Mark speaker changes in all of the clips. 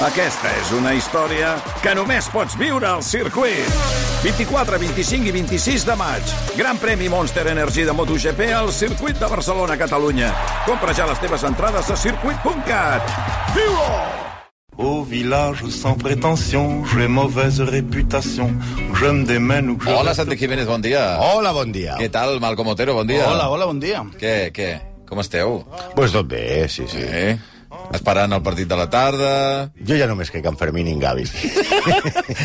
Speaker 1: Aquesta és una història que només pots viure al circuit. 24, 25 i 26 de maig. Gran premi Monster Energy de MotoGP al circuit de Barcelona, Catalunya. Compra ja les teves entrades a circuit.cat. viu -ho!
Speaker 2: Au village sans prétention, j'ai mauvaise réputation. Je me démène ou que je...
Speaker 3: Hola, Santi Jiménez, bon dia.
Speaker 4: Hola, bon dia.
Speaker 3: Què tal, Malcom Otero, bon dia.
Speaker 4: Hola, hola, bon dia.
Speaker 3: Què, què? Com esteu?
Speaker 4: Pues tot bé, sí, sí.
Speaker 3: Eh? Esperant el partit de la tarda...
Speaker 4: Jo ja només crec en Fermín i en Gavi.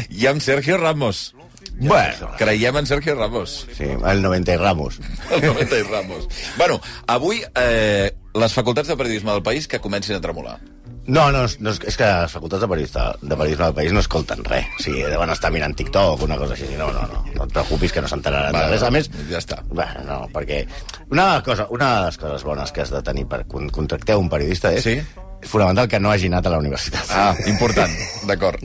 Speaker 3: I amb Sergio Ramos.
Speaker 4: bueno,
Speaker 3: Creiem en Sergio Ramos.
Speaker 4: sí, el 90 i Ramos.
Speaker 3: El 90 i Ramos. Bueno, avui eh, les facultats de periodisme del país que comencin a tremolar.
Speaker 4: No, no, no, és- és que les facultats de periodista, de periodisme del país no escolten res. O sigui, deuen estar mirant TikTok o una cosa així. No, no, no, no et preocupis que no s'enteraran
Speaker 3: Va,
Speaker 4: de res. A més,
Speaker 3: ja està.
Speaker 4: Bé, no, perquè una, cosa, una de les coses bones que has de tenir per quan contracteu un periodista és
Speaker 3: Sí.
Speaker 4: fonamental que no hagi anat a la universitat.
Speaker 3: Ah, important, d'acord.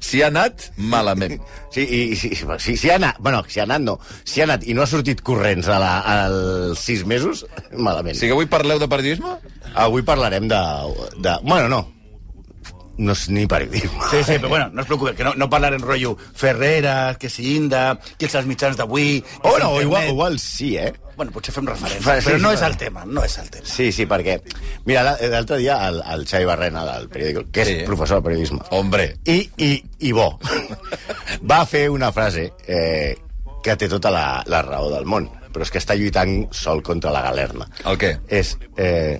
Speaker 3: Si ha anat, malament.
Speaker 4: Sí, i, i si, si, si ha anat, bueno, si ha anat no, si ha anat i no ha sortit corrents a la, als sis mesos, malament.
Speaker 3: O sigui, avui parleu de periodisme?
Speaker 4: Avui parlarem de... de bueno, no, no és ni periodisme.
Speaker 5: Sí, sí, però bueno, no us preocupeu, que no, no parlarem rotllo Ferreras, que si Inda, que si els mitjans d'avui... que
Speaker 4: O Oh,
Speaker 5: si
Speaker 4: no,
Speaker 5: internet.
Speaker 4: igual, igual sí, eh?
Speaker 5: Bueno, potser fem referència,
Speaker 4: Fa- sí,
Speaker 5: però
Speaker 4: sí,
Speaker 5: no
Speaker 4: fa-
Speaker 5: és el tema, no és el tema.
Speaker 4: Sí, sí, perquè... Mira, la- l'altre dia el, el Xavi Barrena, del periòdico, que és
Speaker 3: Sí.
Speaker 4: professor de periodisme,
Speaker 3: Hombre.
Speaker 4: i, i, i bo, va fer una frase eh, que té tota la, la raó del món, però és que està lluitant sol contra la galerna.
Speaker 3: El què?
Speaker 4: És, eh,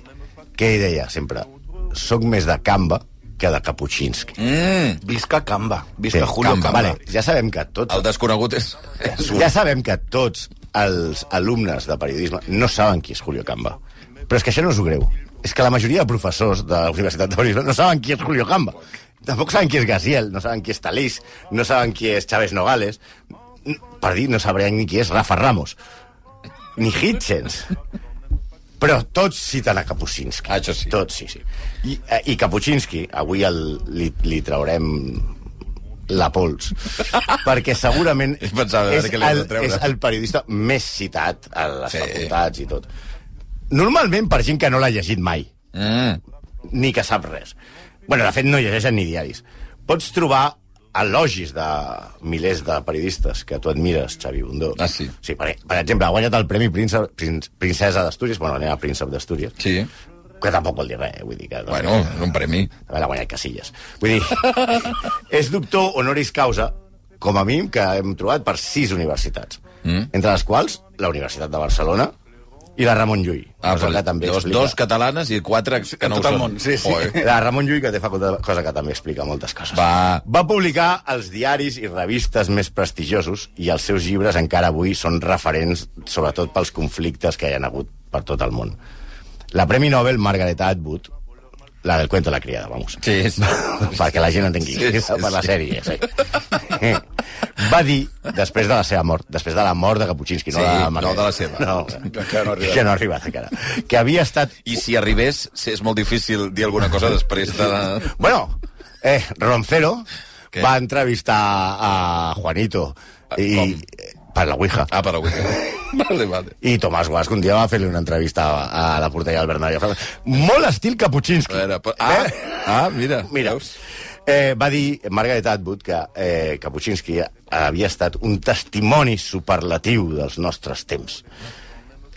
Speaker 4: què hi deia sempre? Soc més de Canva que de Kapuscinski.
Speaker 3: Mm,
Speaker 5: Visca Canva,
Speaker 3: Sí,
Speaker 5: visca Julio
Speaker 3: Canva,
Speaker 5: Canva.
Speaker 4: Vale, ja sabem que tots
Speaker 3: el desconegut és... és un...
Speaker 4: Ja sabem que tots els alumnes de periodisme no saben qui és Julio Camba. Però és que això no és greu. És que la majoria de professors de la Universitat de Periodisme no saben qui és Julio Camba. Tampoc saben qui és Gaziel, no saben qui és Talís, no saben qui és Chávez Nogales. Per dir, no sabrien ni qui és Rafa Ramos. Ni Hitchens. Però tots citen a Kapuscinski.
Speaker 3: Ah, això sí.
Speaker 4: Tots, sí, sí. I, eh, i Kapuscinski, avui el, li, li traurem la pols. perquè segurament
Speaker 3: Pensava, a veure
Speaker 4: és,
Speaker 3: què li has
Speaker 4: el,
Speaker 3: de treure.
Speaker 4: és el periodista més citat a les
Speaker 3: Sí.
Speaker 4: sí. facultats i tot. Normalment per gent que no l'ha llegit mai,
Speaker 3: Mm,
Speaker 4: ni que sap res. Bueno, de fet, no llegeixen ni diaris. Pots trobar elogis de milers de periodistes que tu admires, Xavi Bundó.
Speaker 3: Ah, sí?
Speaker 4: Sí, per, per exemple, ha guanyat el Premi Príncep, Princ- Princesa d'Astúries, bueno, anem a Príncep d'Astúries,
Speaker 3: sí.
Speaker 4: que tampoc vol dir res, eh? vull dir que... No
Speaker 3: Bueno, és un premi.
Speaker 4: també l'ha guanyat Casillas. Vull dir, és doctor honoris causa, com a mínim, que hem trobat per sis universitats, mm. entre les quals la Universitat de Barcelona i la Ramon Llull. cosa
Speaker 3: però
Speaker 4: que també
Speaker 3: Ah, dos,
Speaker 4: explica...
Speaker 3: dos catalanes i quatre que no ho
Speaker 5: tot el
Speaker 3: són.
Speaker 5: món, sí, sí.
Speaker 3: Oi.
Speaker 4: La Ramon Llull, que té facultat, cosa que també explica moltes coses.
Speaker 3: Va.
Speaker 4: Va publicar els diaris i revistes més prestigiosos i els seus llibres encara avui són referents, sobretot pels conflictes que hi ha hagut per tot el món. La Premi Nobel Margaret Atwood, la del cuento de la criada, vamos.
Speaker 3: Sí, sí.
Speaker 4: Doncs perquè la gent entengui,
Speaker 3: Sí, sí,
Speaker 4: sí, sí, per la
Speaker 3: sí.
Speaker 4: sèrie. Sí. Eh, Va dir, després de la seva mort, després de la mort de Kapuscinski, no,
Speaker 3: Sí,
Speaker 4: de
Speaker 3: no,
Speaker 4: Margaret,
Speaker 3: de la seva.
Speaker 4: No,
Speaker 3: Encara no ha arribat.
Speaker 4: que no ha arribat encara. Que havia estat
Speaker 3: I si arribés, sí, és molt difícil dir alguna cosa després de...
Speaker 4: Bueno, eh, Roncero
Speaker 3: Què? Ah,
Speaker 4: va entrevistar a Juanito i,
Speaker 3: com?
Speaker 4: eh, per la Ouija.
Speaker 3: Ah, però avui. Vale, vale.
Speaker 4: I Tomàs Guasc un dia va fer-li una entrevista a, a la portella del Bernabéu. Molt estil
Speaker 3: A
Speaker 4: Kapuscinski.
Speaker 3: veure, però... ah, ah, mira.
Speaker 4: Mira,
Speaker 3: Veus?
Speaker 4: eh, va dir Margaret Atwood que eh, Kapuscinski havia estat un testimoni superlatiu dels nostres temps.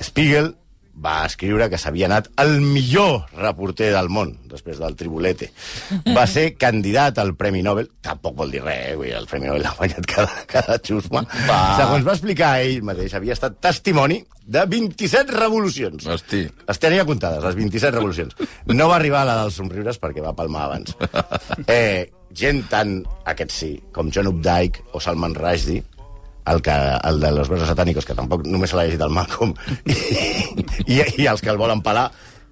Speaker 4: Spiegel va escriure que s'havia anat el millor reporter del món, després del Tribulete. Va ser candidat al Premi Nobel, tampoc vol dir res, eh? vull dir, el Premi Nobel l'ha guanyat cada, cada xusma. Va. Segons va explicar ell mateix, havia estat testimoni de 27 revolucions.
Speaker 3: Hosti.
Speaker 4: Les tenia comptades, les 27 revolucions. No va arribar a la dels somriures perquè va palmar abans. Eh, gent tan, aquest sí, com John Updike o Salman Rushdie, el, que, el de los versos satànicos, que tampoc només l'ha llegit el Malcolm, i, i, i els que el volen pelar,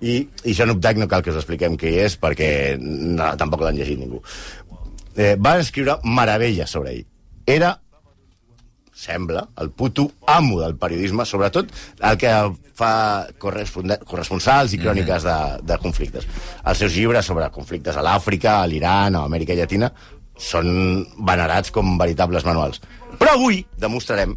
Speaker 4: i, i John Updike no cal que us expliquem qui és, perquè no, tampoc l'han llegit ningú. Eh, va escriure meravelles sobre ell. Era sembla, el puto amo del periodisme, sobretot el que fa corresponde- corresponsals i cròniques de, de conflictes. Els seus llibres sobre conflictes a l'Àfrica, a l'Iran, a Amèrica Llatina, són venerats com veritables manuals. Però avui demostrarem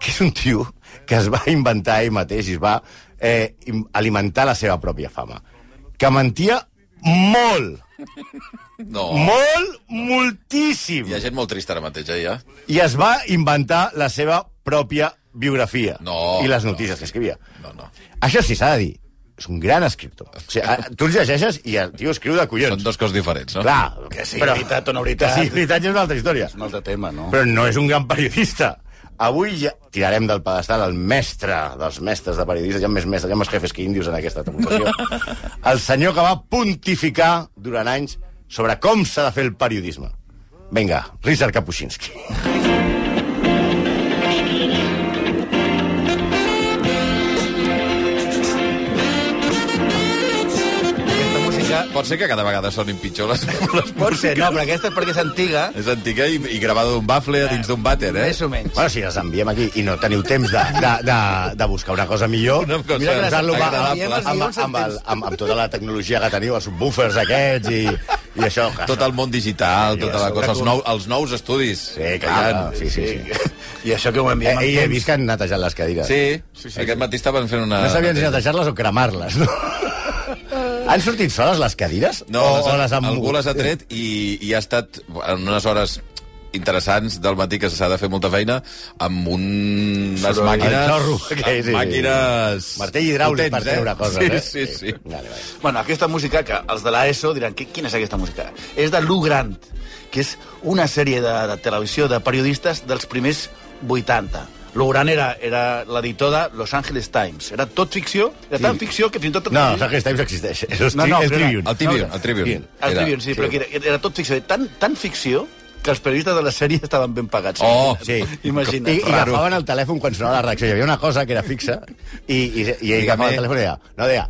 Speaker 4: que és un tio que es va inventar ell mateix i es va eh, im- alimentar la seva pròpia fama. Que mentia molt
Speaker 3: No,
Speaker 4: Molt, moltíssim.
Speaker 3: hi ha gent molt trista ara mateix, eh, ja.
Speaker 4: I es va inventar la seva pròpia biografia.
Speaker 3: No,
Speaker 4: I les
Speaker 3: no.
Speaker 4: notícies que escrivia.
Speaker 3: No, no.
Speaker 4: Això sí, s'ha de dir. És un gran escriptor. O sigui, a- tu els llegeixes i el tio escriu de
Speaker 3: Són
Speaker 4: collons.
Speaker 3: dos coses diferents, no?
Speaker 4: Clar,
Speaker 5: Que sí, veritat o no veritat.
Speaker 4: Que sí, veritat ja és una altra història.
Speaker 5: És un altre tema, no?
Speaker 4: Però no és un gran periodista. Avui ja tirarem del pedestal el mestre dels mestres de periodistes. Hi ha més mestres, hi ha més jefes que índios en aquesta tripulació. El senyor que va pontificar durant anys sobre com s'ha de fer el periodisme. Vinga, Richard Kapuscinski.
Speaker 5: Aquesta música...
Speaker 3: Pot ser que cada vegada sonin pitjor les, les
Speaker 5: Pot ser, no, però aquesta és perquè és antiga,
Speaker 3: És antiga i, i gravada d'un bafle a dins d'un vàter, eh?
Speaker 5: més o menys.
Speaker 4: Bueno, si les enviem aquí i no teniu temps de, de, de, de buscar una cosa millor,
Speaker 3: Una cosa
Speaker 4: mira que les amb,
Speaker 3: agradable.
Speaker 4: amb, amb, amb, el, amb, amb tota la tecnologia que teniu, els subwoofers aquests i, i això. que
Speaker 3: Tot el món digital,
Speaker 4: Sí,
Speaker 3: tota la
Speaker 4: sí,
Speaker 3: cosa, els,
Speaker 4: sí.
Speaker 3: nou, els nous estudis.
Speaker 4: Sí, clar, sí, sí, sí.
Speaker 5: I això que ho
Speaker 4: Eh,
Speaker 5: enviem
Speaker 4: eh, he
Speaker 5: temps.
Speaker 4: vist que han netejat les cadires.
Speaker 3: Sí, Ah, sí, sí, aquest matí estaven fent una...
Speaker 4: No sabien si netejar-les o cremar-les, no? Han sortit soles les cadires?
Speaker 3: No,
Speaker 4: o,
Speaker 3: les
Speaker 4: o
Speaker 3: ha,
Speaker 4: les han
Speaker 3: algú
Speaker 4: mogut?
Speaker 3: les ha tret i, i ha estat en unes hores interessants del matí que s'ha de fer molta feina amb un... unes
Speaker 5: Soroll.
Speaker 3: màquines...
Speaker 4: El xorro,
Speaker 3: amb
Speaker 4: sí, sí.
Speaker 3: Màquines...
Speaker 4: Martell hidràulic
Speaker 3: potents,
Speaker 4: per treure
Speaker 3: eh?
Speaker 4: coses,
Speaker 3: sí,
Speaker 4: eh?
Speaker 3: Sí, sí, sí.
Speaker 4: Vale, vale.
Speaker 5: Bueno, aquesta música, que els de l'ESO diran, "Qui- quina és aquesta música? És de Lou Grant, que és una sèrie de, de televisió de periodistes dels primers 80. Lou Grant era, era l'editor de Los Angeles Times. Era tot ficció, era tan ficció que fins i tot...
Speaker 4: No, els Hackers Times existeix. És el, no,
Speaker 5: No, no,
Speaker 4: no, el
Speaker 5: però era-
Speaker 4: Tribune.
Speaker 3: El Tribune, el Tribune.
Speaker 5: El
Speaker 3: Era-
Speaker 5: Tribune, sí,
Speaker 4: sí.
Speaker 5: però que era, era tot ficció. Tan, tan ficció que els periodistes de la sèrie estaven ben pagats.
Speaker 3: Oh,
Speaker 4: Sí.
Speaker 5: Imagina't.
Speaker 4: I, I
Speaker 5: Raro.
Speaker 4: agafaven el telèfon quan sonava la redacció. Hi havia una cosa que era fixa i, i, i ell agafava el telèfon i deia... No, deia,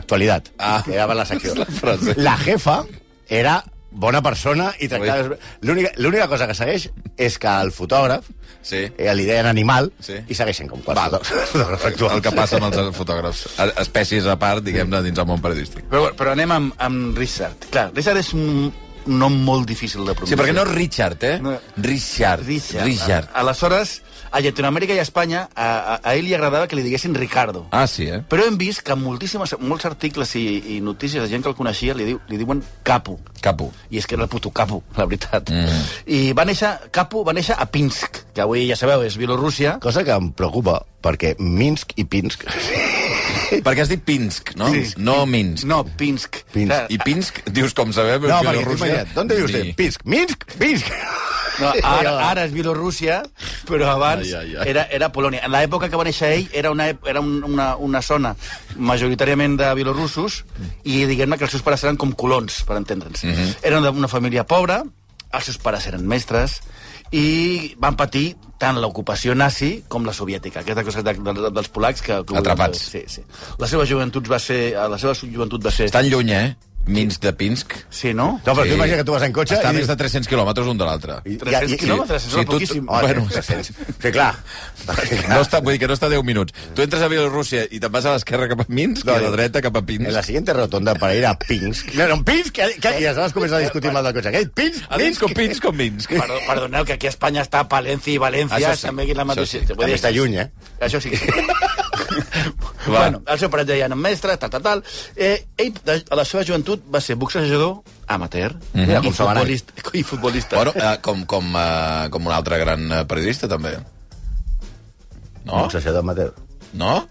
Speaker 4: actualitat.
Speaker 3: Ah.
Speaker 4: Ah. Que era per la secció.
Speaker 3: És la frase.
Speaker 4: La jefa era bona persona i tractava...
Speaker 3: Ui.
Speaker 4: L'única l'única cosa que segueix és que el fotògraf
Speaker 3: Sí.
Speaker 4: eh, li deien animal
Speaker 3: Sí.
Speaker 4: i segueixen com
Speaker 3: Val.
Speaker 4: quatre fotògrafs actuals.
Speaker 3: El que passa amb els fotògrafs. Espècies a part, diguem-ne, dins el món periodístic.
Speaker 5: Però, però anem amb, amb Richard. Clar, Richard és un nom molt difícil de
Speaker 3: Sí,
Speaker 5: pronunciar.
Speaker 3: perquè no és Richard, eh?
Speaker 5: No.
Speaker 3: Richard.
Speaker 5: Richard.
Speaker 3: Richard.
Speaker 5: A- Aleshores, a Llatinoamèrica i a Espanya, a, a, a ell li agradava que li diguessin Ricardo.
Speaker 3: Ah, sí, eh?
Speaker 5: Però hem vist que en moltíssimes, molts articles i, i notícies de gent que el coneixia li, diu, li diuen Capo.
Speaker 3: Capo.
Speaker 5: I és que era el puto Capo, la veritat. Mm. I va néixer, Capo va néixer a Pinsk, que avui ja sabeu, és Bielorússia.
Speaker 4: Cosa que em preocupa, perquè Minsk i Pinsk...
Speaker 3: Perquè has dit Pinsk, no?
Speaker 5: Pinsk.
Speaker 3: No Minsk.
Speaker 5: Eh. No, Pinsk. Eh,
Speaker 4: Pinsk.
Speaker 5: Clar,
Speaker 3: I Pinsk, dius com sabem...
Speaker 4: No,
Speaker 3: és
Speaker 4: perquè
Speaker 3: Bielorússia.
Speaker 4: t'imagina't, d'on dius
Speaker 3: Ni-
Speaker 4: sí. Pinsk, Minsk, Pinsk.
Speaker 5: No, ara, ara és Bielorússia, però abans
Speaker 3: Ai, ai,
Speaker 5: ai,
Speaker 3: ai.
Speaker 5: ai. Era, era Polònia. En l'època que va néixer ell era una, ep- era un, una, una zona majoritàriament de bielorussos i diguem-ne que els seus pares eren com colons, per entendre'ns. Mm -hmm. Eren d'una família pobra, els seus pares eren mestres i van patir tant l'ocupació nazi com la soviètica. Aquesta cosa de, de, dels polacs que... que
Speaker 3: Atrapats.
Speaker 5: Sí, sí. La seva joventut va ser... eh, La seva joventut va ser...
Speaker 3: Estan lluny, eh? Minsk de Pinsk.
Speaker 5: Sí, no?
Speaker 4: No, però
Speaker 3: Sí.
Speaker 4: tu imagina que tu vas en cotxe...
Speaker 3: Està a
Speaker 4: i
Speaker 3: més
Speaker 4: dius-
Speaker 3: de 300 quilòmetres un de l'altre.
Speaker 4: I-
Speaker 5: 300
Speaker 4: i- i-
Speaker 5: quilòmetres, és
Speaker 3: sí,
Speaker 5: sí,
Speaker 3: tu-
Speaker 5: poquíssim.
Speaker 4: Oh,
Speaker 3: Bueno.
Speaker 4: bueno, que clar.
Speaker 3: No està, vull dir que no està a 10 minuts. Tu entres a Bielorússia i te'n vas a l'esquerra cap a Minsk
Speaker 4: No,
Speaker 3: i a la
Speaker 4: no.
Speaker 3: dreta cap a Pinsk.
Speaker 4: En la siguiente rotonda para ir a Pinsk. No, no, Pinsk, que, que, i aleshores comença a discutir amb el del cotxe. Aquell, Pinsk,
Speaker 3: A Minsk o
Speaker 4: Minsk.
Speaker 3: Pinsk o Minsk.
Speaker 5: Perdó, perdoneu, que aquí a Espanya està Palència i València,
Speaker 3: Això sí,
Speaker 5: també aquí la
Speaker 3: això
Speaker 5: mateixa...
Speaker 3: sí.
Speaker 5: Vull
Speaker 4: També
Speaker 5: dir-
Speaker 4: està lluny, eh?
Speaker 5: Això sí.
Speaker 3: Va.
Speaker 5: bueno, el seu pare ja era mestre, tal, tal, tal. Eh, ell, de, a la seva joventut, va ser boxejador amateur mm
Speaker 4: Mira
Speaker 5: i,
Speaker 4: com se va anar.
Speaker 5: futbolista, i futbolista.
Speaker 3: Bueno, eh, com, com, eh, com un altre gran eh, periodista, també. No?
Speaker 4: Boxejador amateur.
Speaker 3: No?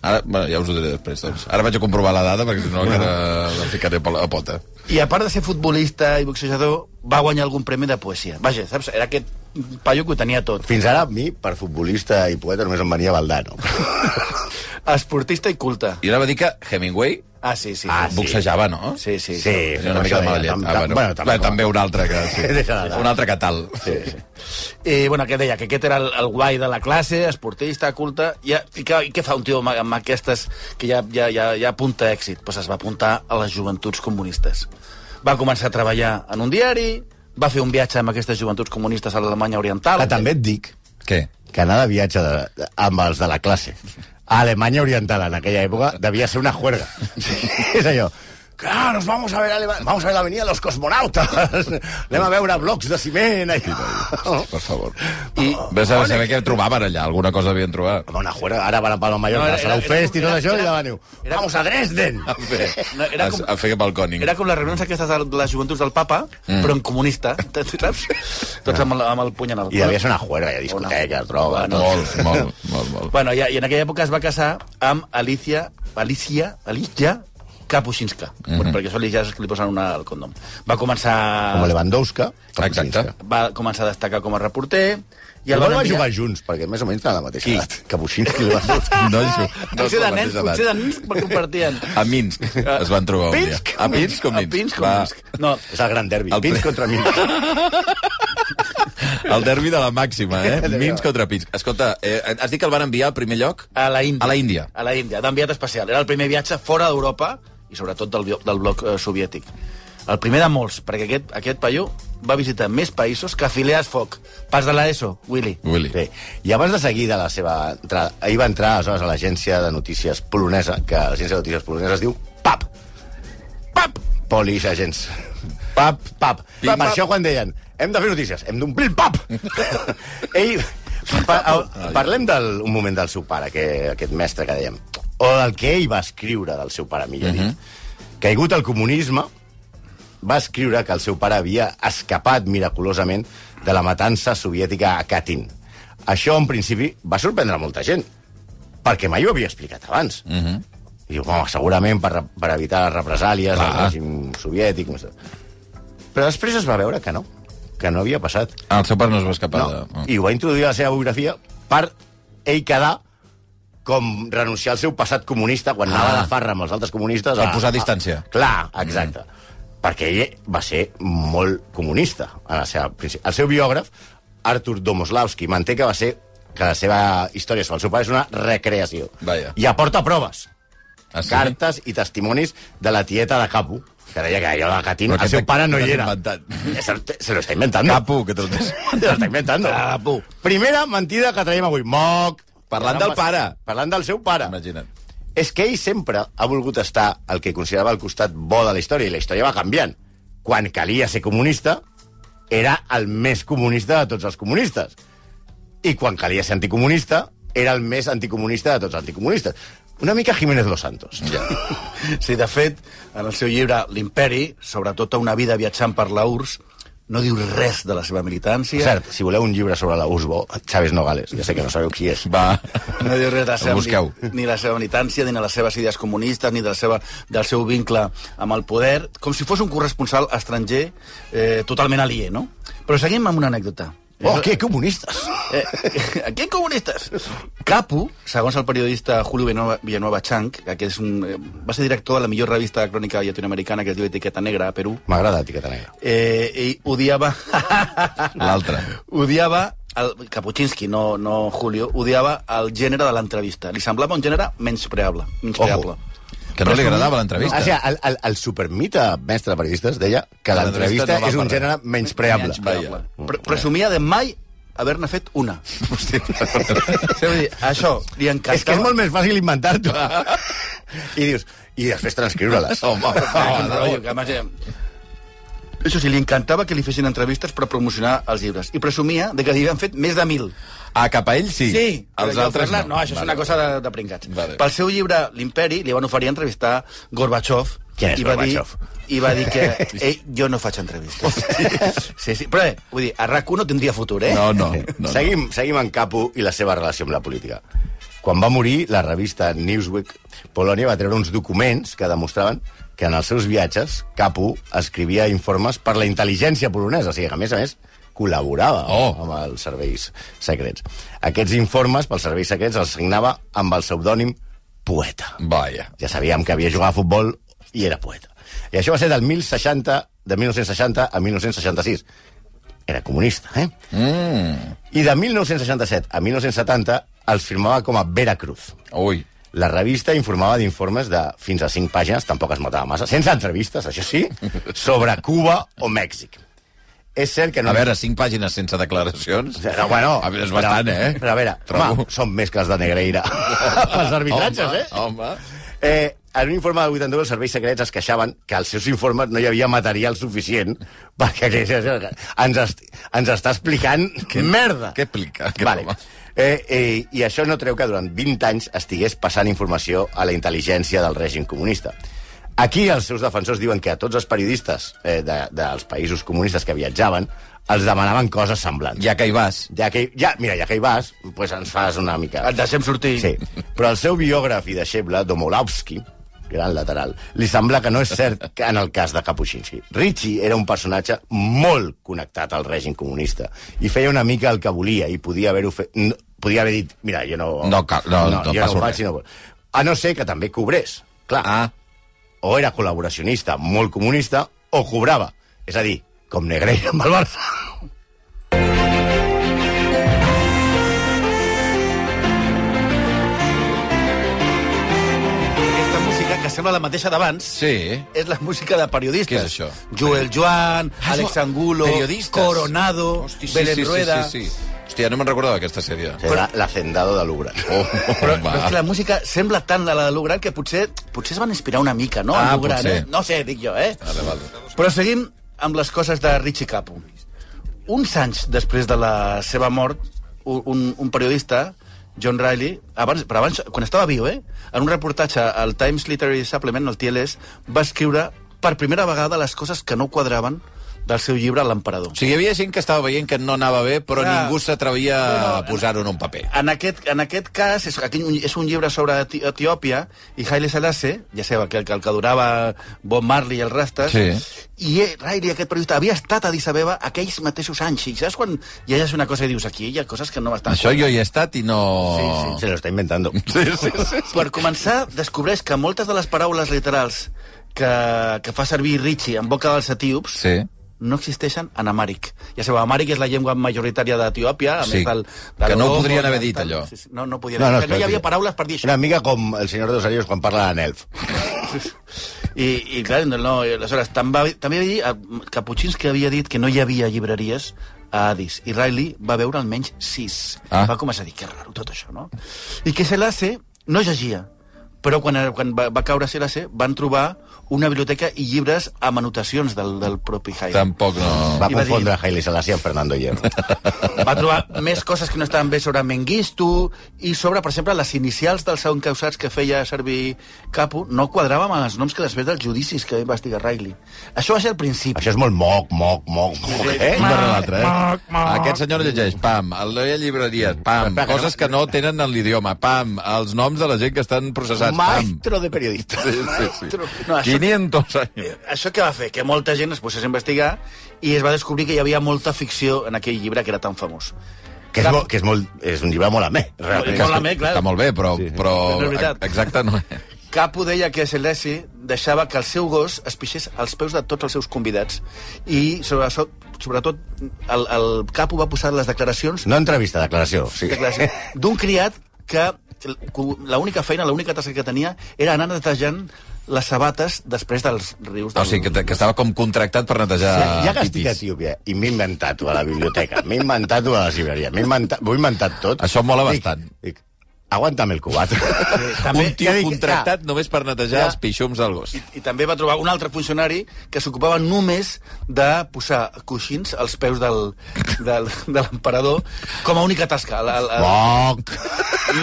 Speaker 3: Ara, bueno, ja us ho diré després, doncs. Ara vaig a comprovar la dada, perquè si no encara la ficaré a la pota.
Speaker 5: I a part de ser futbolista i boxejador, va guanyar algun premi de poesia. Vaja, saps? Era aquest paio que ho tenia tot.
Speaker 4: Fins ara, a mi, per futbolista i poeta, només em venia Valdano.
Speaker 5: Esportista i culte.
Speaker 3: I ara va dir que Hemingway
Speaker 5: Ah, sí, sí.
Speaker 4: Ah,
Speaker 5: sí.
Speaker 3: boxejava, no?
Speaker 5: Sí, sí.
Speaker 3: Tenia una mica de mala llet. Ah, bueno, bueno, també, també un altre que... Sí.
Speaker 4: Deixa d'anar.
Speaker 3: un altre que tal.
Speaker 4: Sí, sí.
Speaker 5: Eh, bueno, que deia que aquest era el, el guai de la classe, esportista, culte... I, i, que, i què fa un tio amb, amb aquestes que ja, ja, ja, ja apunta a èxit? Pues es va apuntar a les joventuts comunistes. Va començar a treballar en un diari, va fer un viatge amb aquestes joventuts comunistes a l'Alemanya Oriental.
Speaker 4: Que Ah, també et dic
Speaker 3: Què?
Speaker 4: que anar de viatge de, de, amb els de la classe a Alemanya Oriental en aquella època devia ser una juerga. Sí, és allò. Clar, nos vamos a ver, a Alema- vamos a ver l'avenida Los Cosmonautas. Anem a veure blocs de ciment. Allà.
Speaker 3: Per favor. I...
Speaker 5: Oh.
Speaker 3: Ves a saber què trobaven allà, alguna cosa devien trobar.
Speaker 4: Bona juera, ara van a Palma Mallorca,
Speaker 5: No,
Speaker 4: no,
Speaker 5: era-
Speaker 4: serà un
Speaker 5: era-
Speaker 4: fest i tot
Speaker 5: era-
Speaker 4: això, i
Speaker 5: era-
Speaker 4: ja veniu.
Speaker 5: era-
Speaker 4: Vamos a Dresden!
Speaker 3: A fer,
Speaker 5: No,
Speaker 3: a,
Speaker 5: era com-
Speaker 3: a fer balcòning.
Speaker 5: Era com les reunions aquestes de les joventuts del papa, mm. però en comunista, saps? Tots amb el, amb el puny en el...
Speaker 4: I devia ser una juera, hi ha discoteques, droga,
Speaker 5: Bueno,
Speaker 4: tot.
Speaker 3: Molt, molt, molt, molt.
Speaker 5: Bueno, ja, i en aquella època es va casar amb Alicia, Alicia, Alicia Kapuscinska, mm
Speaker 3: Mhm.
Speaker 5: -hmm. perquè sol ja és que li posen una al condom. Va
Speaker 4: Com
Speaker 5: començar,
Speaker 4: Lewandowski. com
Speaker 3: Exacte.
Speaker 4: Kuczynska.
Speaker 5: va començar a destacar com a reporter, i
Speaker 4: I
Speaker 5: el
Speaker 4: el
Speaker 5: van
Speaker 4: van
Speaker 5: enviar...
Speaker 4: jugar junts, perquè més o menys tenen la mateixa edat. Que Buixinski i Lewandowski.
Speaker 3: No, això, no és
Speaker 5: potser
Speaker 3: la
Speaker 5: de nens,
Speaker 3: mateixa edat.
Speaker 5: potser de nens per compartien.
Speaker 3: A Minsk es van trobar un dia.
Speaker 5: Pinsk?
Speaker 3: A Minsk o
Speaker 5: A
Speaker 3: Minsk?
Speaker 5: Pinsk o
Speaker 3: Va,
Speaker 5: Minsk? No,
Speaker 4: És el gran derbi.
Speaker 3: El
Speaker 4: El Pins
Speaker 3: ple-
Speaker 4: contra Minsk.
Speaker 3: El derbi de la màxima, eh? Minsk contra Pinsk. Escolta, eh, has dit que el van enviar al primer lloc?
Speaker 5: a la Índia.
Speaker 3: A la Índia.
Speaker 5: A la Índia, d'enviat especial. Era el primer viatge fora d'Europa i sobretot del, bio- del bloc eh, soviètic. El primer de molts, perquè aquest, aquest paio va visitar més països que filees foc. Pas de l'ESO, Willy.
Speaker 3: Willy.
Speaker 4: Bé, i abans de seguir de la seva entrada, ahir va entrar aleshores a l'agència de notícies polonesa, que l'agència de notícies polonesa es diu PAP. PAP! Polish Agents. PAP, PAP.
Speaker 3: Pim,
Speaker 4: Per
Speaker 3: pap.
Speaker 4: això quan deien, hem de fer notícies, hem d'omplir el PAP! Ell, pa, a, parlem del, un moment del seu pare, que, aquest mestre que dèiem, o del que ell va escriure del seu pare, millor dit. Caigut el comunisme, va escriure que el seu pare havia escapat miraculosament de la matança soviètica a Katyn. Això, en principi, va sorprendre molta gent, perquè mai ho havia explicat abans. Mm -hmm. I diu, home, segurament per, re- per evitar les represàlies al
Speaker 3: Clar.
Speaker 4: règim soviètic... No sé. Però després es va veure que no, que no havia passat.
Speaker 3: Ah, el seu pare no es va escapar.
Speaker 4: No.
Speaker 3: De...
Speaker 4: I ho va introduir a la seva biografia per ell quedar com renunciar al seu passat comunista quan ah. anava de farra amb els altres comunistes.
Speaker 3: Per posar distància.
Speaker 4: Clar, exacte. Mm. Perquè ell va ser molt comunista. En la seva, princi- el seu biògraf, Artur Domoslavski, manté que va ser que la seva història sobre el seu pare és una recreació.
Speaker 3: Vaja.
Speaker 4: I aporta proves,
Speaker 3: Ah,
Speaker 4: sí? cartes i testimonis de la tieta de Capo, que deia que allò de Catín, el seu pare no hi era. Se, lo- se lo está inventando.
Speaker 3: Capo, que te'l tens...
Speaker 4: Te lo está inventando.
Speaker 5: Capo.
Speaker 4: Primera mentida que traiem avui. Moc.
Speaker 3: Parlant del pare.
Speaker 4: Parlant del seu pare.
Speaker 3: Imagina't.
Speaker 4: És que ell sempre ha volgut estar al que considerava el costat bo de la història, i la història va canviant. Quan calia ser comunista, era el més comunista de tots els comunistes. I quan calia ser anticomunista, era el més anticomunista de tots els anticomunistes. Una mica Jiménez Los Santos. Ja.
Speaker 5: Sí, de fet, en el seu llibre L'imperi, sobretot una vida viatjant per la URSS, no diu res de la seva militància.
Speaker 4: Cert, si voleu un llibre sobre la USBO, Chávez Nogales, ja sé que no sabeu qui és.
Speaker 3: Va.
Speaker 5: No diu res de la
Speaker 3: El
Speaker 5: seva,
Speaker 3: busqueu.
Speaker 5: ni, ni la seva militància, ni de les seves idees comunistes, ni de la seva, del seu vincle amb el poder, com si fos un corresponsal estranger eh, totalment aliè, no? Però seguim amb una anècdota.
Speaker 4: Oh, que comunistes!
Speaker 5: Eh, aquí comunistes! Capo, segons el periodista Julio Villanueva, Villanueva Chang, que és un, eh, va ser director de la millor revista de crònica llatinoamericana que es diu Etiqueta Negra a Perú,
Speaker 4: M'agrada Etiqueta Negra.
Speaker 5: eh, i odiava...
Speaker 3: L'altre.
Speaker 5: odiava el, Kapuscinski, no, no Julio, odiava el gènere de l'entrevista. Li semblava un gènere menyspreable. menyspreable.
Speaker 3: Que no li agradava l'entrevista.
Speaker 4: O sigui, Ah, el, el, el supermita mestre de periodistes deia que l'entrevista
Speaker 3: no va
Speaker 4: és un
Speaker 3: per
Speaker 4: gènere
Speaker 3: res.
Speaker 4: menyspreable. Mm.
Speaker 5: Menyspreable. Pre Presumia de mai haver-ne fet una. Sí, vull dir, això li encantava.
Speaker 4: És que és molt més fàcil inventar-t'ho. I dius, i després transcriure-les.
Speaker 3: Ah. Home, per
Speaker 5: Ah,
Speaker 3: favor.
Speaker 5: no, rotllo, que, imagina. Això sí, li encantava que li fessin entrevistes per promocionar els llibres. I presumia de que li havien fet més de mil.
Speaker 3: Ah, cap a ell sí.
Speaker 5: Sí,
Speaker 3: Els altres no.
Speaker 5: No, això és una cosa de, de pringats.
Speaker 3: Vale.
Speaker 5: Pel seu llibre L'imperi li van oferir entrevistar Gorbachev.
Speaker 4: Qui és
Speaker 5: i va
Speaker 4: Gorbachev?
Speaker 5: Dir, I va dir que ell, jo no faig entrevistes. sí, sí. Però bé, vull dir, a RAC1 no tindria futur, eh?
Speaker 3: No, no. no, no.
Speaker 4: seguim, seguim en Capo i la seva relació amb la política. Quan va morir, la revista Newsweek Polònia va treure uns documents que demostraven que en els seus viatges Capo escrivia informes per la intel·ligència polonesa, o sigui que, a més a més, col·laborava
Speaker 3: Oh.
Speaker 4: amb els serveis secrets. Aquests informes pels serveis secrets els signava amb el pseudònim Poeta.
Speaker 3: Vaja.
Speaker 4: Ja sabíem que havia jugat a futbol i era poeta. I això va ser del 1060, de 1960 a 1966. Era comunista, eh?
Speaker 3: Mm.
Speaker 4: I de 1967 a 1970 els firmava com a Veracruz.
Speaker 3: Ui.
Speaker 4: La revista informava d'informes de fins a 5 pàgines, tampoc es matava massa, sense entrevistes, això sí, sobre Cuba o Mèxic. És cert que no...
Speaker 3: A veure, cinc pàgines sense declaracions.
Speaker 4: Però, bueno,
Speaker 3: A veure, és bastant,
Speaker 4: però,
Speaker 3: eh?
Speaker 4: Però a veure,
Speaker 3: Trobo.
Speaker 4: home, són més que els de Negreira. Pels arbitratges,
Speaker 3: home,
Speaker 4: eh?
Speaker 3: Home,
Speaker 4: Eh, en un informe de 80 euros, els serveis secrets es queixaven que als seus informes no hi havia material suficient perquè que, ens, est, ens està explicant que, merda.
Speaker 3: què explica aquest
Speaker 4: vale.
Speaker 3: home?
Speaker 4: Eh, eh, I això no treu que durant 20 anys estigués passant informació a la intel·ligència del règim comunista. Aquí els seus defensors diuen que a tots els periodistes eh, de, dels països comunistes que viatjaven els demanaven coses semblants.
Speaker 3: Ja que hi vas.
Speaker 4: Ja que, hi- ja, mira, ja que hi vas, pues ens fas una mica...
Speaker 5: Et deixem sortir.
Speaker 4: Sí, però el seu biògraf i deixeble, Domolovsky, gran lateral, li sembla que no és cert que en el cas de Kapuscinski. Ritchie era un personatge molt connectat al règim comunista i feia una mica el que volia i podia haver-ho fet... no- Podia haver dit, mira, jo no...
Speaker 3: No cal- no- no
Speaker 4: jo
Speaker 3: passo
Speaker 4: no ho
Speaker 3: res.
Speaker 4: faig, si no vol. A no ser que també cobrés, clar.
Speaker 3: Ah,
Speaker 4: O era col·laboracionista molt comunista o cobrava. És a dir, com Negreira amb el Barça.
Speaker 5: Aquesta música, que sembla la mateixa d'abans,
Speaker 3: sí.
Speaker 5: és la música de periodistes.
Speaker 3: Què és això?
Speaker 5: Joel Joan,
Speaker 3: Ah,
Speaker 5: Alex
Speaker 3: això-
Speaker 5: Angulo,
Speaker 3: periodistes.
Speaker 5: Coronado,
Speaker 3: Hosti, sí,
Speaker 5: Belén
Speaker 3: sí,
Speaker 5: Rueda...
Speaker 3: Sí, sí, sí. Hòstia, no me'n recordava aquesta sèrie.
Speaker 4: Era l'hacendado de Lugran.
Speaker 3: Oh,
Speaker 5: Però,
Speaker 3: home.
Speaker 5: però és que la música sembla tant la de Lugran que potser, potser es van inspirar una mica, no? en
Speaker 3: Ah,
Speaker 5: Lugran,
Speaker 3: potser.
Speaker 5: Eh? No sé, dic jo, eh?
Speaker 3: Vale, vale.
Speaker 5: Però seguim amb les coses de Richie Capo. Uns anys després de la seva mort, u- un, un periodista, John Riley, abans, però abans, quan estava viu, eh, en un reportatge al Times Literary Supplement, al TLS, va escriure per primera vegada les coses que no quadraven del seu llibre L'emperador.
Speaker 3: O sigui, hi havia gent que estava veient que no anava bé, però
Speaker 5: Clar.
Speaker 3: ningú s'atrevia
Speaker 5: No,
Speaker 3: a
Speaker 5: no,
Speaker 3: posar-ho en un paper.
Speaker 5: En aquest, en aquest cas, és, aquí és un llibre sobre Eti- Etiòpia i Haile Selassie, ja sabeu, que, que el que durava Bob Marley i els rastes,
Speaker 3: Sí.
Speaker 5: i eh, Riley, aquest periodista, havia estat a Addis Abeba aquells mateixos anys. I saps quan llegeixes una cosa i dius aquí hi ha coses que no estan...
Speaker 3: Això jo hi he estat i no...
Speaker 4: Sí, se lo está inventando.
Speaker 3: Sí, sí, sí.
Speaker 5: Per començar, descobreix que moltes de les paraules literals que, que fa servir Richie en boca dels etíops
Speaker 3: sí.
Speaker 5: no existeixen en amàric. Ja sabeu, amàric és la llengua majoritària d'Etiòpia, a
Speaker 3: Sí,
Speaker 5: més del...
Speaker 3: que no ho
Speaker 5: Congo,
Speaker 3: podrien haver
Speaker 5: del-
Speaker 3: dit, allò.
Speaker 5: Sí, sí, no, no podien
Speaker 4: No, no,
Speaker 5: que no hi
Speaker 4: espera,
Speaker 5: havia
Speaker 4: espera.
Speaker 5: paraules per dir això.
Speaker 4: Una mica com el senyor de los anillos quan parla de Nelf.
Speaker 5: I, i clar, no, no, i aleshores, també, també havia dit, eh, Kapuscinski havia dit que no hi havia llibreries a Addis, i Riley va veure almenys sis.
Speaker 3: Ah.
Speaker 5: Ah. Va començar a dir, que raro tot això, no? I que Selassie no llegia, però quan, eh, quan va, va caure Selassie van trobar una biblioteca i llibres amb anotacions del, del propi Haile.
Speaker 3: Tampoc no...
Speaker 4: Va
Speaker 5: I va dir-
Speaker 4: confondre Haile Selassie amb Fernando Hierro.
Speaker 5: Va trobar més coses que no estaven bé sobre Mengistu i sobre, per exemple, les inicials dels encausats que feia servir Capo no quadraven amb els noms que després dels judicis que va investigar Riley. Això va ser al principi.
Speaker 4: Això és molt moc, moc, moc, moc, eh?
Speaker 3: Un darrere l'altre, eh? Aquest senyor llegeix, pam, el de llibreries, pam,
Speaker 4: Espera, que
Speaker 3: coses que no tenen en l'idioma, pam, els noms de la gent que estan processats, pam.
Speaker 4: Maestro de periodista.
Speaker 3: Sí, sí, sí.
Speaker 5: Maestro. No, això-
Speaker 3: 500 anys.
Speaker 5: Eh, Això què va fer? Que molta gent es posés a investigar i es va descobrir que hi havia molta ficció en aquell llibre que era tan famós.
Speaker 4: Que és, molt, que és, molt, és un llibre molt amè, realment.
Speaker 5: Molt amè, clar.
Speaker 3: Ah, Està molt bé, però, però
Speaker 5: És veritat.
Speaker 3: exacte no és.
Speaker 5: Capo deia que Selassie deixava que el seu gos es pixés als peus de tots els seus convidats i, sobre, so- sobretot, el, el Capo va posar les declaracions
Speaker 4: No entrevista, declaració. Sí.
Speaker 5: declaració d'un criat que l'única feina, l'única tasca que tenia era anar netejant les sabates després dels rius.
Speaker 3: O sigui, Ah, que, que estava com contractat per netejar
Speaker 4: Ja, ja que estic a
Speaker 3: pipis.
Speaker 4: Etiòpia i m'he inventat-ho a la biblioteca, m'he inventat-ho a la llibreria, m'he inventat, m'ho he inventat tot.
Speaker 3: Això mola
Speaker 4: Dic-
Speaker 3: bastant.
Speaker 4: Dic, aguanta'm el cubat.
Speaker 5: també-
Speaker 3: un tio
Speaker 4: ja dic,
Speaker 3: contractat
Speaker 4: ja.
Speaker 3: només per netejar
Speaker 5: Ja.
Speaker 3: els pixums del gos.
Speaker 5: I, I també va trobar un altre funcionari que s'ocupava només de posar coixins als peus del, del, de l'emperador com a única tasca. La, la,
Speaker 4: Poc.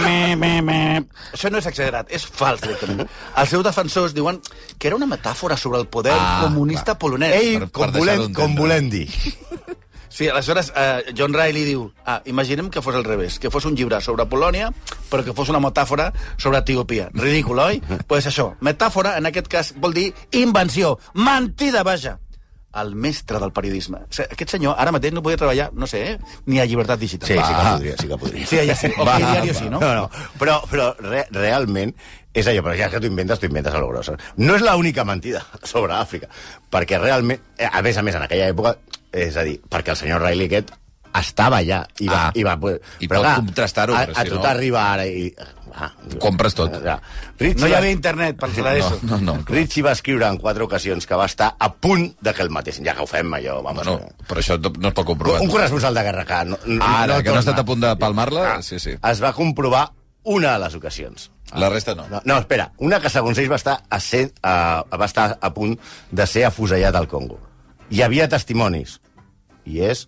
Speaker 5: Me, me, me. Això no és exagerat, és fals. directament. Els seus defensors diuen que era una metàfora sobre el poder
Speaker 3: Ah,
Speaker 5: ah, comunista clar. polonès.
Speaker 4: Ei,
Speaker 3: per
Speaker 4: com
Speaker 3: deixar-ho
Speaker 4: volem,
Speaker 3: entendre.
Speaker 4: com volem dir.
Speaker 5: Sí, aleshores, eh, John Riley diu... Ah, imaginem que fos al revés, que fos un llibre sobre Polònia, però que fos una metàfora sobre Etiòpia. Ridícul, oi? Doncs pues això, metàfora, en aquest cas, vol dir invenció, mentida, vaja! El mestre del periodisme. O sigui, aquest senyor ara mateix no podria treballar, no sé, eh, ni a llibertat digital.
Speaker 4: Sí, sí que
Speaker 3: Va.
Speaker 4: podria, sí que podria.
Speaker 5: Sí, allà sí. O
Speaker 4: Va,
Speaker 5: que el diari
Speaker 4: va.
Speaker 5: sí, no?
Speaker 4: No, no. Però, però re, realment és allò, però ja que t'ho inventes, t'ho inventes a lo gros. No és l'única mentida sobre Àfrica, perquè realment, eh, a més a més, en aquella època, és a dir, perquè el senyor Riley aquest estava allà i va...
Speaker 3: Ah.
Speaker 4: i, va, poder-
Speaker 3: I pot contrastar-ho,
Speaker 4: A,
Speaker 3: però
Speaker 4: a
Speaker 3: si
Speaker 4: tu
Speaker 3: no-
Speaker 4: t'arriba ara i... Ah,
Speaker 3: Compres tot.
Speaker 4: Ja. Richie
Speaker 5: Ah, No hi
Speaker 4: va-
Speaker 5: havia internet per fer
Speaker 3: No,
Speaker 5: això.
Speaker 3: no, no. clar.
Speaker 4: Richie va escriure en quatre ocasions que va estar a punt de que el matessin. Ja que ho fem, allò, vamos.
Speaker 3: Bueno, però això no es pot comprovar.
Speaker 4: Un corresponsal de guerra que no, no,
Speaker 3: Ara, que no ha
Speaker 4: torna. Ah.
Speaker 3: estat a punt de palmar-la, Ah, sí, sí.
Speaker 4: Es va comprovar una de les ocasions.
Speaker 3: La resta no.
Speaker 4: No, no, espera. Una que, segons ells, va estar a, ser, a, va estar a punt de ser afusellat al Congo. Hi havia testimonis. I és...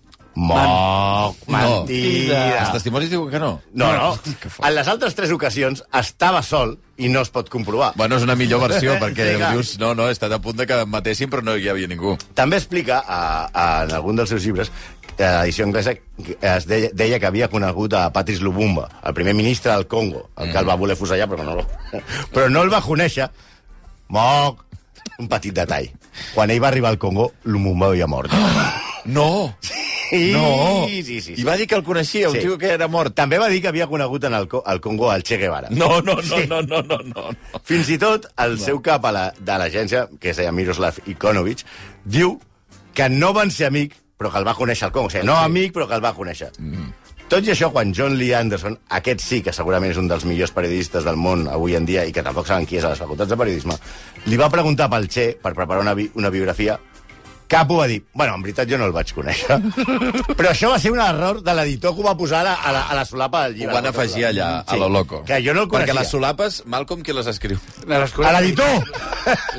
Speaker 4: Moc, mentida.
Speaker 3: Els testimonis diuen que no.
Speaker 4: No, no. En les altres tres ocasions estava sol i no es pot comprovar.
Speaker 3: Bueno, és una millor versió, perquè
Speaker 4: Vinga.
Speaker 3: dius, no, no, he estat a punt de que em matessin, però no hi havia ningú.
Speaker 4: També explica, a, a, en algun dels seus llibres, que a l'edició anglesa que es deia, deia que havia conegut a Patrice Lumumba, el primer ministre del Congo, el que el
Speaker 3: Mm.
Speaker 4: va voler fusellar, però no, el- però no el va conèixer. Moc, un petit detall. Quan ell va arribar al Congo, Lumumba havia mort.
Speaker 3: No!
Speaker 4: Sí,
Speaker 3: Ah! No!
Speaker 4: Sí, sí, sí.
Speaker 3: I va dir que el coneixia, un
Speaker 4: Sí.
Speaker 3: tio que era mort.
Speaker 4: També va dir que havia conegut en el, Co- al Congo al Che Guevara.
Speaker 3: No, no, no, no, no, no, no.
Speaker 4: Fins i tot el seu cap a la, de l'agència, que es deia Miroslav Ikonovic, diu que no van ser amic, però que el va conèixer al Congo. O sigui, no amic, però que el va conèixer.
Speaker 3: Mm.
Speaker 4: Tot i això, quan John Lee Anderson, aquest sí que segurament és un dels millors periodistes del món avui en dia i que tampoc saben qui és a les facultats de periodisme, li va preguntar pel Che per preparar una, bi una biografia Capo va dir, bueno, en veritat jo no el vaig conèixer. Però això va ser un error de l'editor que ho va posar a la, a la, a la solapa del
Speaker 3: Ho
Speaker 4: llibre.
Speaker 3: van afegir allà, a lo loco.
Speaker 4: Que jo no el coneixia.
Speaker 3: Perquè les solapes, Malcolm, qui les escriu?
Speaker 4: A l'editor!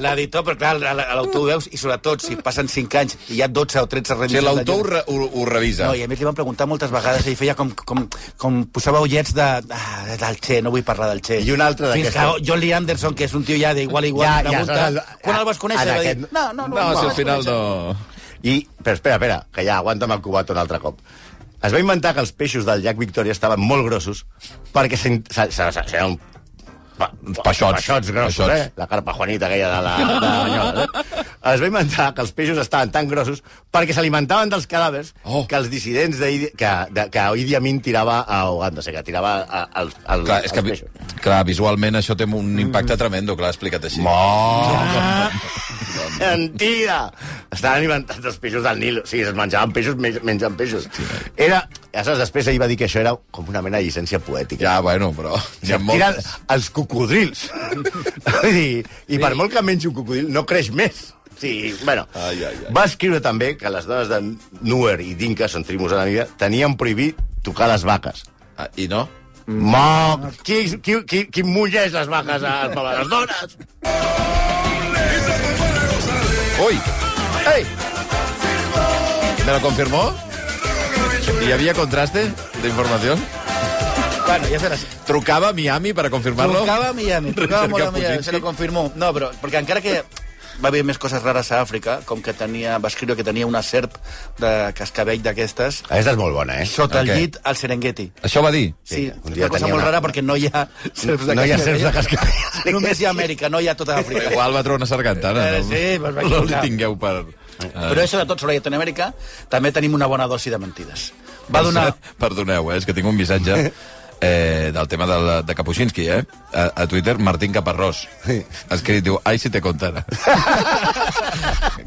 Speaker 5: L'editor, però clar, a la- a l'autor ho veus, i sobretot si passen 5 anys i hi ha 12 o 13
Speaker 3: O sigui,
Speaker 5: revisions...
Speaker 3: l'autor ho, re- ho, ho revisa.
Speaker 5: No, i a més li van preguntar moltes vegades i feia com, com, com posava ullets de, ah, del Che, no vull parlar del Che.
Speaker 4: I un altre
Speaker 5: Fins que
Speaker 4: d'aquestes.
Speaker 5: John Lee Anderson, que és un tio ja d'igual a igual,
Speaker 4: Ja,
Speaker 5: ja,
Speaker 4: ja,
Speaker 5: pregunta,
Speaker 4: no,
Speaker 5: ja,
Speaker 4: no,
Speaker 5: quan el vas conèixer?
Speaker 4: en
Speaker 5: Va dir,
Speaker 4: aquest-
Speaker 5: no, no, no.
Speaker 3: No, si al
Speaker 5: el
Speaker 3: final no...
Speaker 4: I, però espera, espera, que ja aguanta'm el cubat un altre cop. Es va inventar que els peixos del llac Victòria estaven molt grossos perquè s'in- se- se- se- seran pa,
Speaker 3: Peixots.
Speaker 4: peixots grossos,
Speaker 3: Peixots.
Speaker 4: eh? La carpa Juanita aquella de la... De la Banyoles, eh? Es va inventar que els peixos estaven tan grossos perquè s'alimentaven dels cadàvers
Speaker 3: Oh.
Speaker 4: que els dissidents de, Idi- que, de, que Idi Amin tirava a Uganda, o sigui, que tirava a, a, a,
Speaker 3: Clar, és
Speaker 4: als
Speaker 3: que,
Speaker 4: peixos.
Speaker 3: vi- clar, visualment això té un impacte tremendo, clar, explicat així.
Speaker 4: Mentida! Estaven inventant els peixos del Nil. O sigui, es menjaven peixos, men- mengen peixos. Era... Ja saps, després ell va dir que això era com una mena de llicència poètica.
Speaker 3: Ja, bueno, però... N'hi ha
Speaker 4: Era
Speaker 3: moltes.
Speaker 4: els cocodrils. Vull dir, I per molt que mengi un cocodril, no creix més. Sí, bueno.
Speaker 3: Ai, ai, ai.
Speaker 4: Va escriure també que les dones de Nuer i Dinka, són tribus enemiga, tenien prohibit tocar les vaques.
Speaker 3: Ah, I no?
Speaker 4: Moc! Qui, qui, qui, qui mulleix les vaques a les dones?
Speaker 3: Ui!
Speaker 4: Ei!
Speaker 3: ¿Me lo confirmó? ¿Y había contraste de información?
Speaker 5: Bueno, ja serà...
Speaker 3: ¿Trucaba a Miami para confirmarlo?
Speaker 5: Trucava a Miami, trucava molt a Miami,
Speaker 3: Kapuscinski.
Speaker 5: se lo confirmó. No, però, perquè encara que va haver més coses rares a Àfrica, com que tenia, va escriure que tenia una serp de cascavell d'aquestes,
Speaker 4: Aquesta és molt bona, eh?
Speaker 3: Ok.
Speaker 5: sota el llit al Serengeti.
Speaker 3: Això va dir.
Speaker 5: Sí,
Speaker 4: un dia
Speaker 5: una cosa
Speaker 4: tenia
Speaker 5: molt
Speaker 4: una-
Speaker 5: rara perquè no hi ha serps de
Speaker 4: No hi ha serps de
Speaker 5: cascavell. Només hi ha Amèrica, no hi ha tota Àfrica.
Speaker 3: Però igual va trobar una sargantana.
Speaker 5: Eh,
Speaker 3: no?
Speaker 5: sí, pues vaig
Speaker 3: no li
Speaker 5: trucar.
Speaker 3: tingueu per...
Speaker 4: Eh.
Speaker 3: eh,
Speaker 5: Però això de tot sobre Llatinoamèrica, també tenim una bona dosi de mentides. Va
Speaker 3: Per
Speaker 5: donar...
Speaker 3: cert, Perdoneu, eh, és que tinc un missatge eh, del tema de, la, de Kapuscinski, eh? A, a Twitter, Martín Caparrós. Ha escrit, diu, ai, si te contara.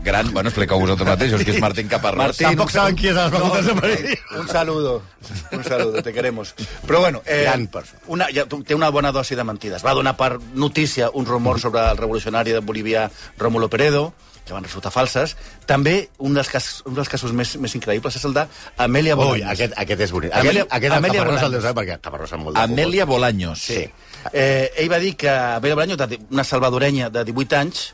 Speaker 3: Gran, bueno, expliqueu vosaltres mateixos, que és Martín Caparrós.
Speaker 4: Tampoc saben qui és a les facultats de Madrid.
Speaker 5: Un saludo, un saludo, te queremos. Però bueno, eh,
Speaker 4: Gran persona.
Speaker 5: una, ja, té una bona dosi de mentides. Va donar per notícia un rumor sobre el revolucionari de Bolívia Rómulo Peredo, que van resultar falses. També un dels casos, un dels casos més, més increïbles és el d'Amèlia
Speaker 4: Ui,
Speaker 5: Bolaños.
Speaker 4: aquest, aquest és bonic.
Speaker 5: Amèlia-
Speaker 4: Aquest, aquest
Speaker 5: Amèlia
Speaker 4: Amèlia Caparrós el
Speaker 5: Bolaños.
Speaker 4: deu saber perquè Caparrós amb molt de
Speaker 3: Amèlia Bolaños.
Speaker 4: Sí.
Speaker 5: Eh, ell va dir que Abel Braño, una salvadorenya de 18 anys,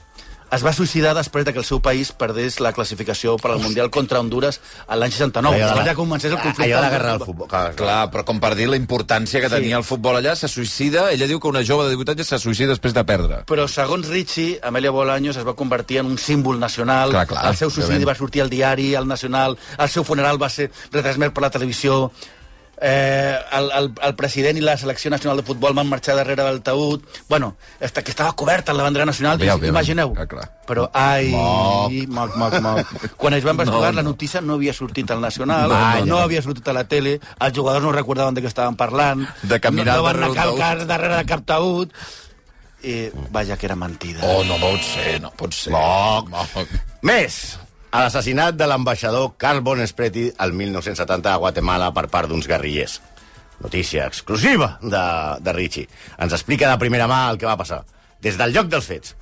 Speaker 5: es va suïcidar després de que el seu país perdés la classificació per al Mundial contra Honduras a l'any 69.
Speaker 4: Allò de la-
Speaker 5: Després ja comencés el conflicte.
Speaker 4: Allò de la guerra del futbol. Clar, clar.
Speaker 3: Clar, però com per dir la importància que
Speaker 5: Sí.
Speaker 3: tenia el futbol allà, se suïcida, ella diu que una jove de 18 anys se suïcida després de perdre.
Speaker 5: Però, segons Richie, Amelia Bolaños es va convertir en un símbol nacional.
Speaker 3: Clar, clar,
Speaker 5: el seu suïcidi
Speaker 3: òbviament.
Speaker 5: va sortir al diari, al Nacional, el seu funeral va ser retransmès per la televisió, eh, el, el, el president i la selecció nacional de futbol van marxar darrere del taüt. Bueno, esta, que estava coberta en la bandera nacional,
Speaker 3: Òbvia, òbviament. Ah,
Speaker 5: imagineu.
Speaker 3: Clar, clar.
Speaker 5: Però, ai, moc, moc, moc. Quan es van investigar,
Speaker 3: No,
Speaker 5: la notícia no havia sortit al Nacional,
Speaker 3: No,
Speaker 5: no,
Speaker 3: no, no.
Speaker 5: havia sortit a la tele, els jugadors no recordaven de què estaven parlant,
Speaker 3: De caminar
Speaker 5: no, no van
Speaker 3: darrere
Speaker 5: anar
Speaker 3: un
Speaker 5: cal-
Speaker 3: taüt.
Speaker 5: car- darrere de cap taüt, i vaja, que era mentida.
Speaker 3: Oh, no pot ser, no pot ser.
Speaker 4: Moc.
Speaker 3: Moc.
Speaker 4: Més! A l'assassinat de l'ambaixador Carl Bonespreti el 1970 a Guatemala per part d'uns guerrillers. Notícia exclusiva de, de Richie. Ens explica de primera mà el que va passar. Des del lloc dels fets.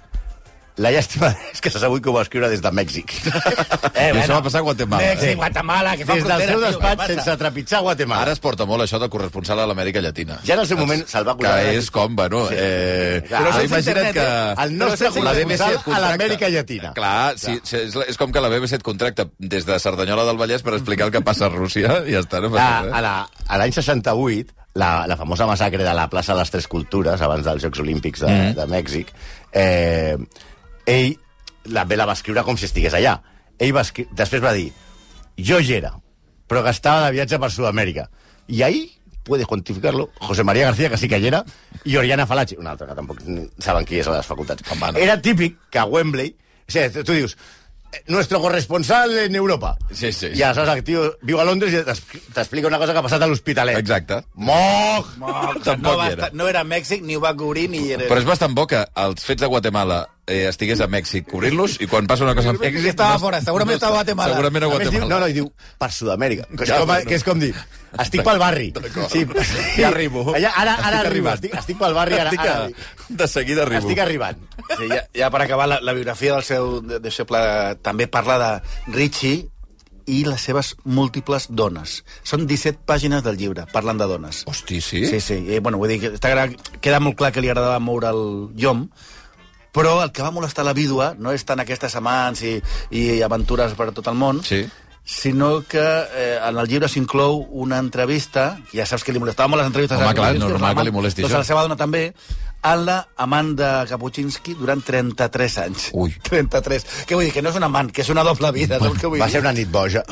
Speaker 4: La llàstima és que s'ha sabut que ho va escriure des de Mèxic.
Speaker 3: I això va passar a Guatemala.
Speaker 5: Eh, Mèxic,
Speaker 3: Sí.
Speaker 5: Guatemala, que fa
Speaker 4: Des del
Speaker 5: frontera,
Speaker 4: seu
Speaker 5: tio,
Speaker 4: despatx,
Speaker 5: què passa?
Speaker 4: sense trepitjar Guatemala.
Speaker 3: Ara es porta molt això de corresponsal a l'Amèrica Llatina.
Speaker 4: Ja en el seu moment se'l va
Speaker 3: Que
Speaker 4: acusar de-
Speaker 3: és com, bueno... Sí. Eh,
Speaker 4: Clar, però
Speaker 3: ah,
Speaker 4: sense
Speaker 3: imagina't
Speaker 5: internet,
Speaker 3: que...
Speaker 4: eh? El nostre
Speaker 3: Però sense
Speaker 4: corresponsal
Speaker 3: internet. La BBC et contracta.
Speaker 4: a l'Amèrica Llatina.
Speaker 3: Clar, sí, sí, és, la- és com que la BBC et contracta des de Cerdanyola del Vallès per explicar el que passa a Rússia i ja està, no passa
Speaker 4: Ah, A, a la- a l'any 68, la, la famosa massacre de la plaça de les Tres Cultures, abans dels Jocs Olímpics de, mm. de Mèxic, eh, ell la, bé, la va escriure com si estigués allà. Ell va escri... després va dir, jo hi era, però que estava de viatge per Sud-amèrica. I ahí puede quantificar-lo, José María García, que sí que hi era, i Oriana Falachi, un altre que tampoc ni saben qui és a les facultats.
Speaker 3: Home, no.
Speaker 4: Era típic que a Wembley... O sigui, tu dius, eh, nuestro corresponsal en Europa.
Speaker 3: Sí, sí, sí.
Speaker 4: I aleshores el tio viu a Londres i t'ex- t'explica una cosa que ha passat a l'Hospitalet.
Speaker 3: Exacte.
Speaker 4: Moc!
Speaker 5: No, que
Speaker 3: Tampoc
Speaker 5: no, va
Speaker 3: hi era.
Speaker 5: estar- no era Mèxic, ni ho va cobrir, ni hi era...
Speaker 3: Però és bastant bo que els fets de Guatemala eh, estigués a Mèxic cobrint-los i quan passa una cosa a Mèxic...
Speaker 5: Estava fora, segurament estava a Guatemala.
Speaker 3: Segurament a
Speaker 4: A més, diu,
Speaker 3: Guatemala.
Speaker 4: no, no, i diu, per Sud-amèrica. Que, és
Speaker 3: Ja,
Speaker 4: com,
Speaker 3: bueno.
Speaker 4: que és com dir, estic pel barri. Sí,
Speaker 3: Ja arribo.
Speaker 4: Allà,
Speaker 3: Estic
Speaker 4: ara, ara arribo,
Speaker 3: arribant.
Speaker 4: estic, estic pel barri, ara,
Speaker 3: Estic,
Speaker 4: ara,
Speaker 3: a... De seguida arribo.
Speaker 4: estic arribant.
Speaker 5: Sí, ja, ja per acabar, la, la biografia del seu de- deixeble també parla de Richie i les seves múltiples dones. Són 17 pàgines del llibre, parlant de dones.
Speaker 3: Hosti, Oh, sí?
Speaker 5: Sí, sí. I, bueno, vull dir, que està, gra- queda molt clar que li agradava moure el llom, però el que va molestar la vídua no és tant aquestes amants i, i aventures per tot el món,
Speaker 3: Sí.
Speaker 5: sinó que eh, en el llibre s'inclou una entrevista, ja saps que li molestava molt les entrevistes...
Speaker 3: Home,
Speaker 5: a la
Speaker 3: clar,
Speaker 5: Kapuscinski,
Speaker 3: normal
Speaker 5: a la
Speaker 3: que li
Speaker 5: amant,
Speaker 3: molesti
Speaker 5: doncs
Speaker 3: això.
Speaker 5: a la seva dona també, en la amant de Kapuscinski durant 33 anys.
Speaker 3: Ui.
Speaker 5: 33. Què vull dir? Que no és una amant, que és una doble vida. Saps què vull
Speaker 4: Va
Speaker 5: dir?
Speaker 4: ser una nit boja.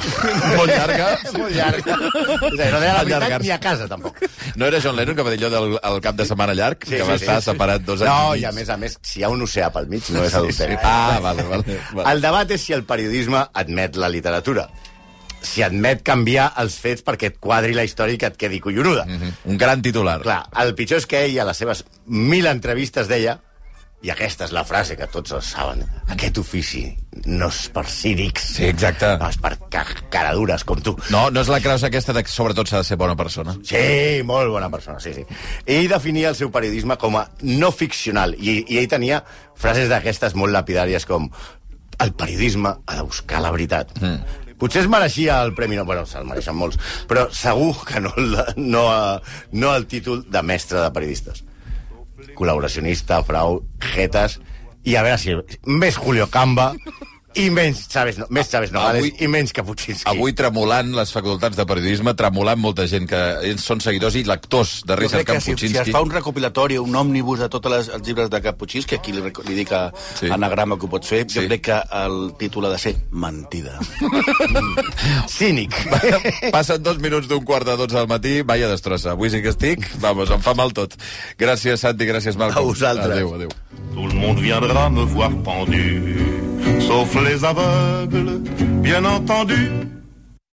Speaker 3: Molt llarga.
Speaker 4: Molt llarga. O sigui, no deia la veritat
Speaker 3: Allargar-se.
Speaker 4: ni a casa, tampoc.
Speaker 3: No era John Lennon que va dir allò del el cap de setmana llarg, sí, que va sí, estar sí, separat dos anys
Speaker 4: No,
Speaker 3: mig?
Speaker 4: i a més a més, si hi ha un oceà pel mig, no és adulteri.
Speaker 3: sí. Ah, vale, vale, vale.
Speaker 4: El debat és si el periodisme admet la literatura. Si admet canviar els fets perquè et quadri la història i que et quedi collonuda. Mm -hmm.
Speaker 3: Mhm. Un gran titular.
Speaker 4: Clar, el pitjor és que ell a les seves mil entrevistes deia i aquesta és la frase que tots els saben. Aquest ofici no és per cínics.
Speaker 3: Sí, exacte.
Speaker 4: No és per ca caradures com tu.
Speaker 3: No, no és la creus aquesta de que sobretot s'ha de ser bona persona.
Speaker 4: Sí, molt bona persona, sí, sí. Ell definia el seu periodisme com a no ficcional i, i ell tenia frases d'aquestes molt lapidàries com el periodisme ha de buscar la veritat. Mm. Potser es mereixia el premi, no, bueno, se'l mereixen molts, però segur que no, el- no, eh, no el títol de mestre de periodistes. Col·laboracionista, frau, jetes, i a veure si més Julio Camba i menys Chávez, no, més Chávez Nogales
Speaker 3: Avui-
Speaker 4: i menys Kapuscinski.
Speaker 3: Avui tremolant les facultats de periodisme, tremolant molta gent que ells són seguidors i lectors de
Speaker 5: Jo
Speaker 3: Richard
Speaker 5: crec que si, si es
Speaker 3: Kapuscinski.
Speaker 5: fa un recopilatori, un òmnibus de tots els llibres de Caputxins, que aquí li, rec- li dic a
Speaker 3: Sí.
Speaker 5: sí. anagrama que ho pots fer, sí.
Speaker 3: Sí.
Speaker 5: jo crec que el títol ha de ser Mentida.
Speaker 4: Cínic.
Speaker 3: Passen dos minuts d'un quart de dotze del matí, vaya destrossa. Avui sí que estic, vamos, em fa mal tot. Gràcies, Santi, gràcies, Malcolm.
Speaker 4: A vosaltres.
Speaker 3: Adéu, adéu.
Speaker 2: Tout le monde viendra me voir pendu, sauf les aveugles, bien entendu.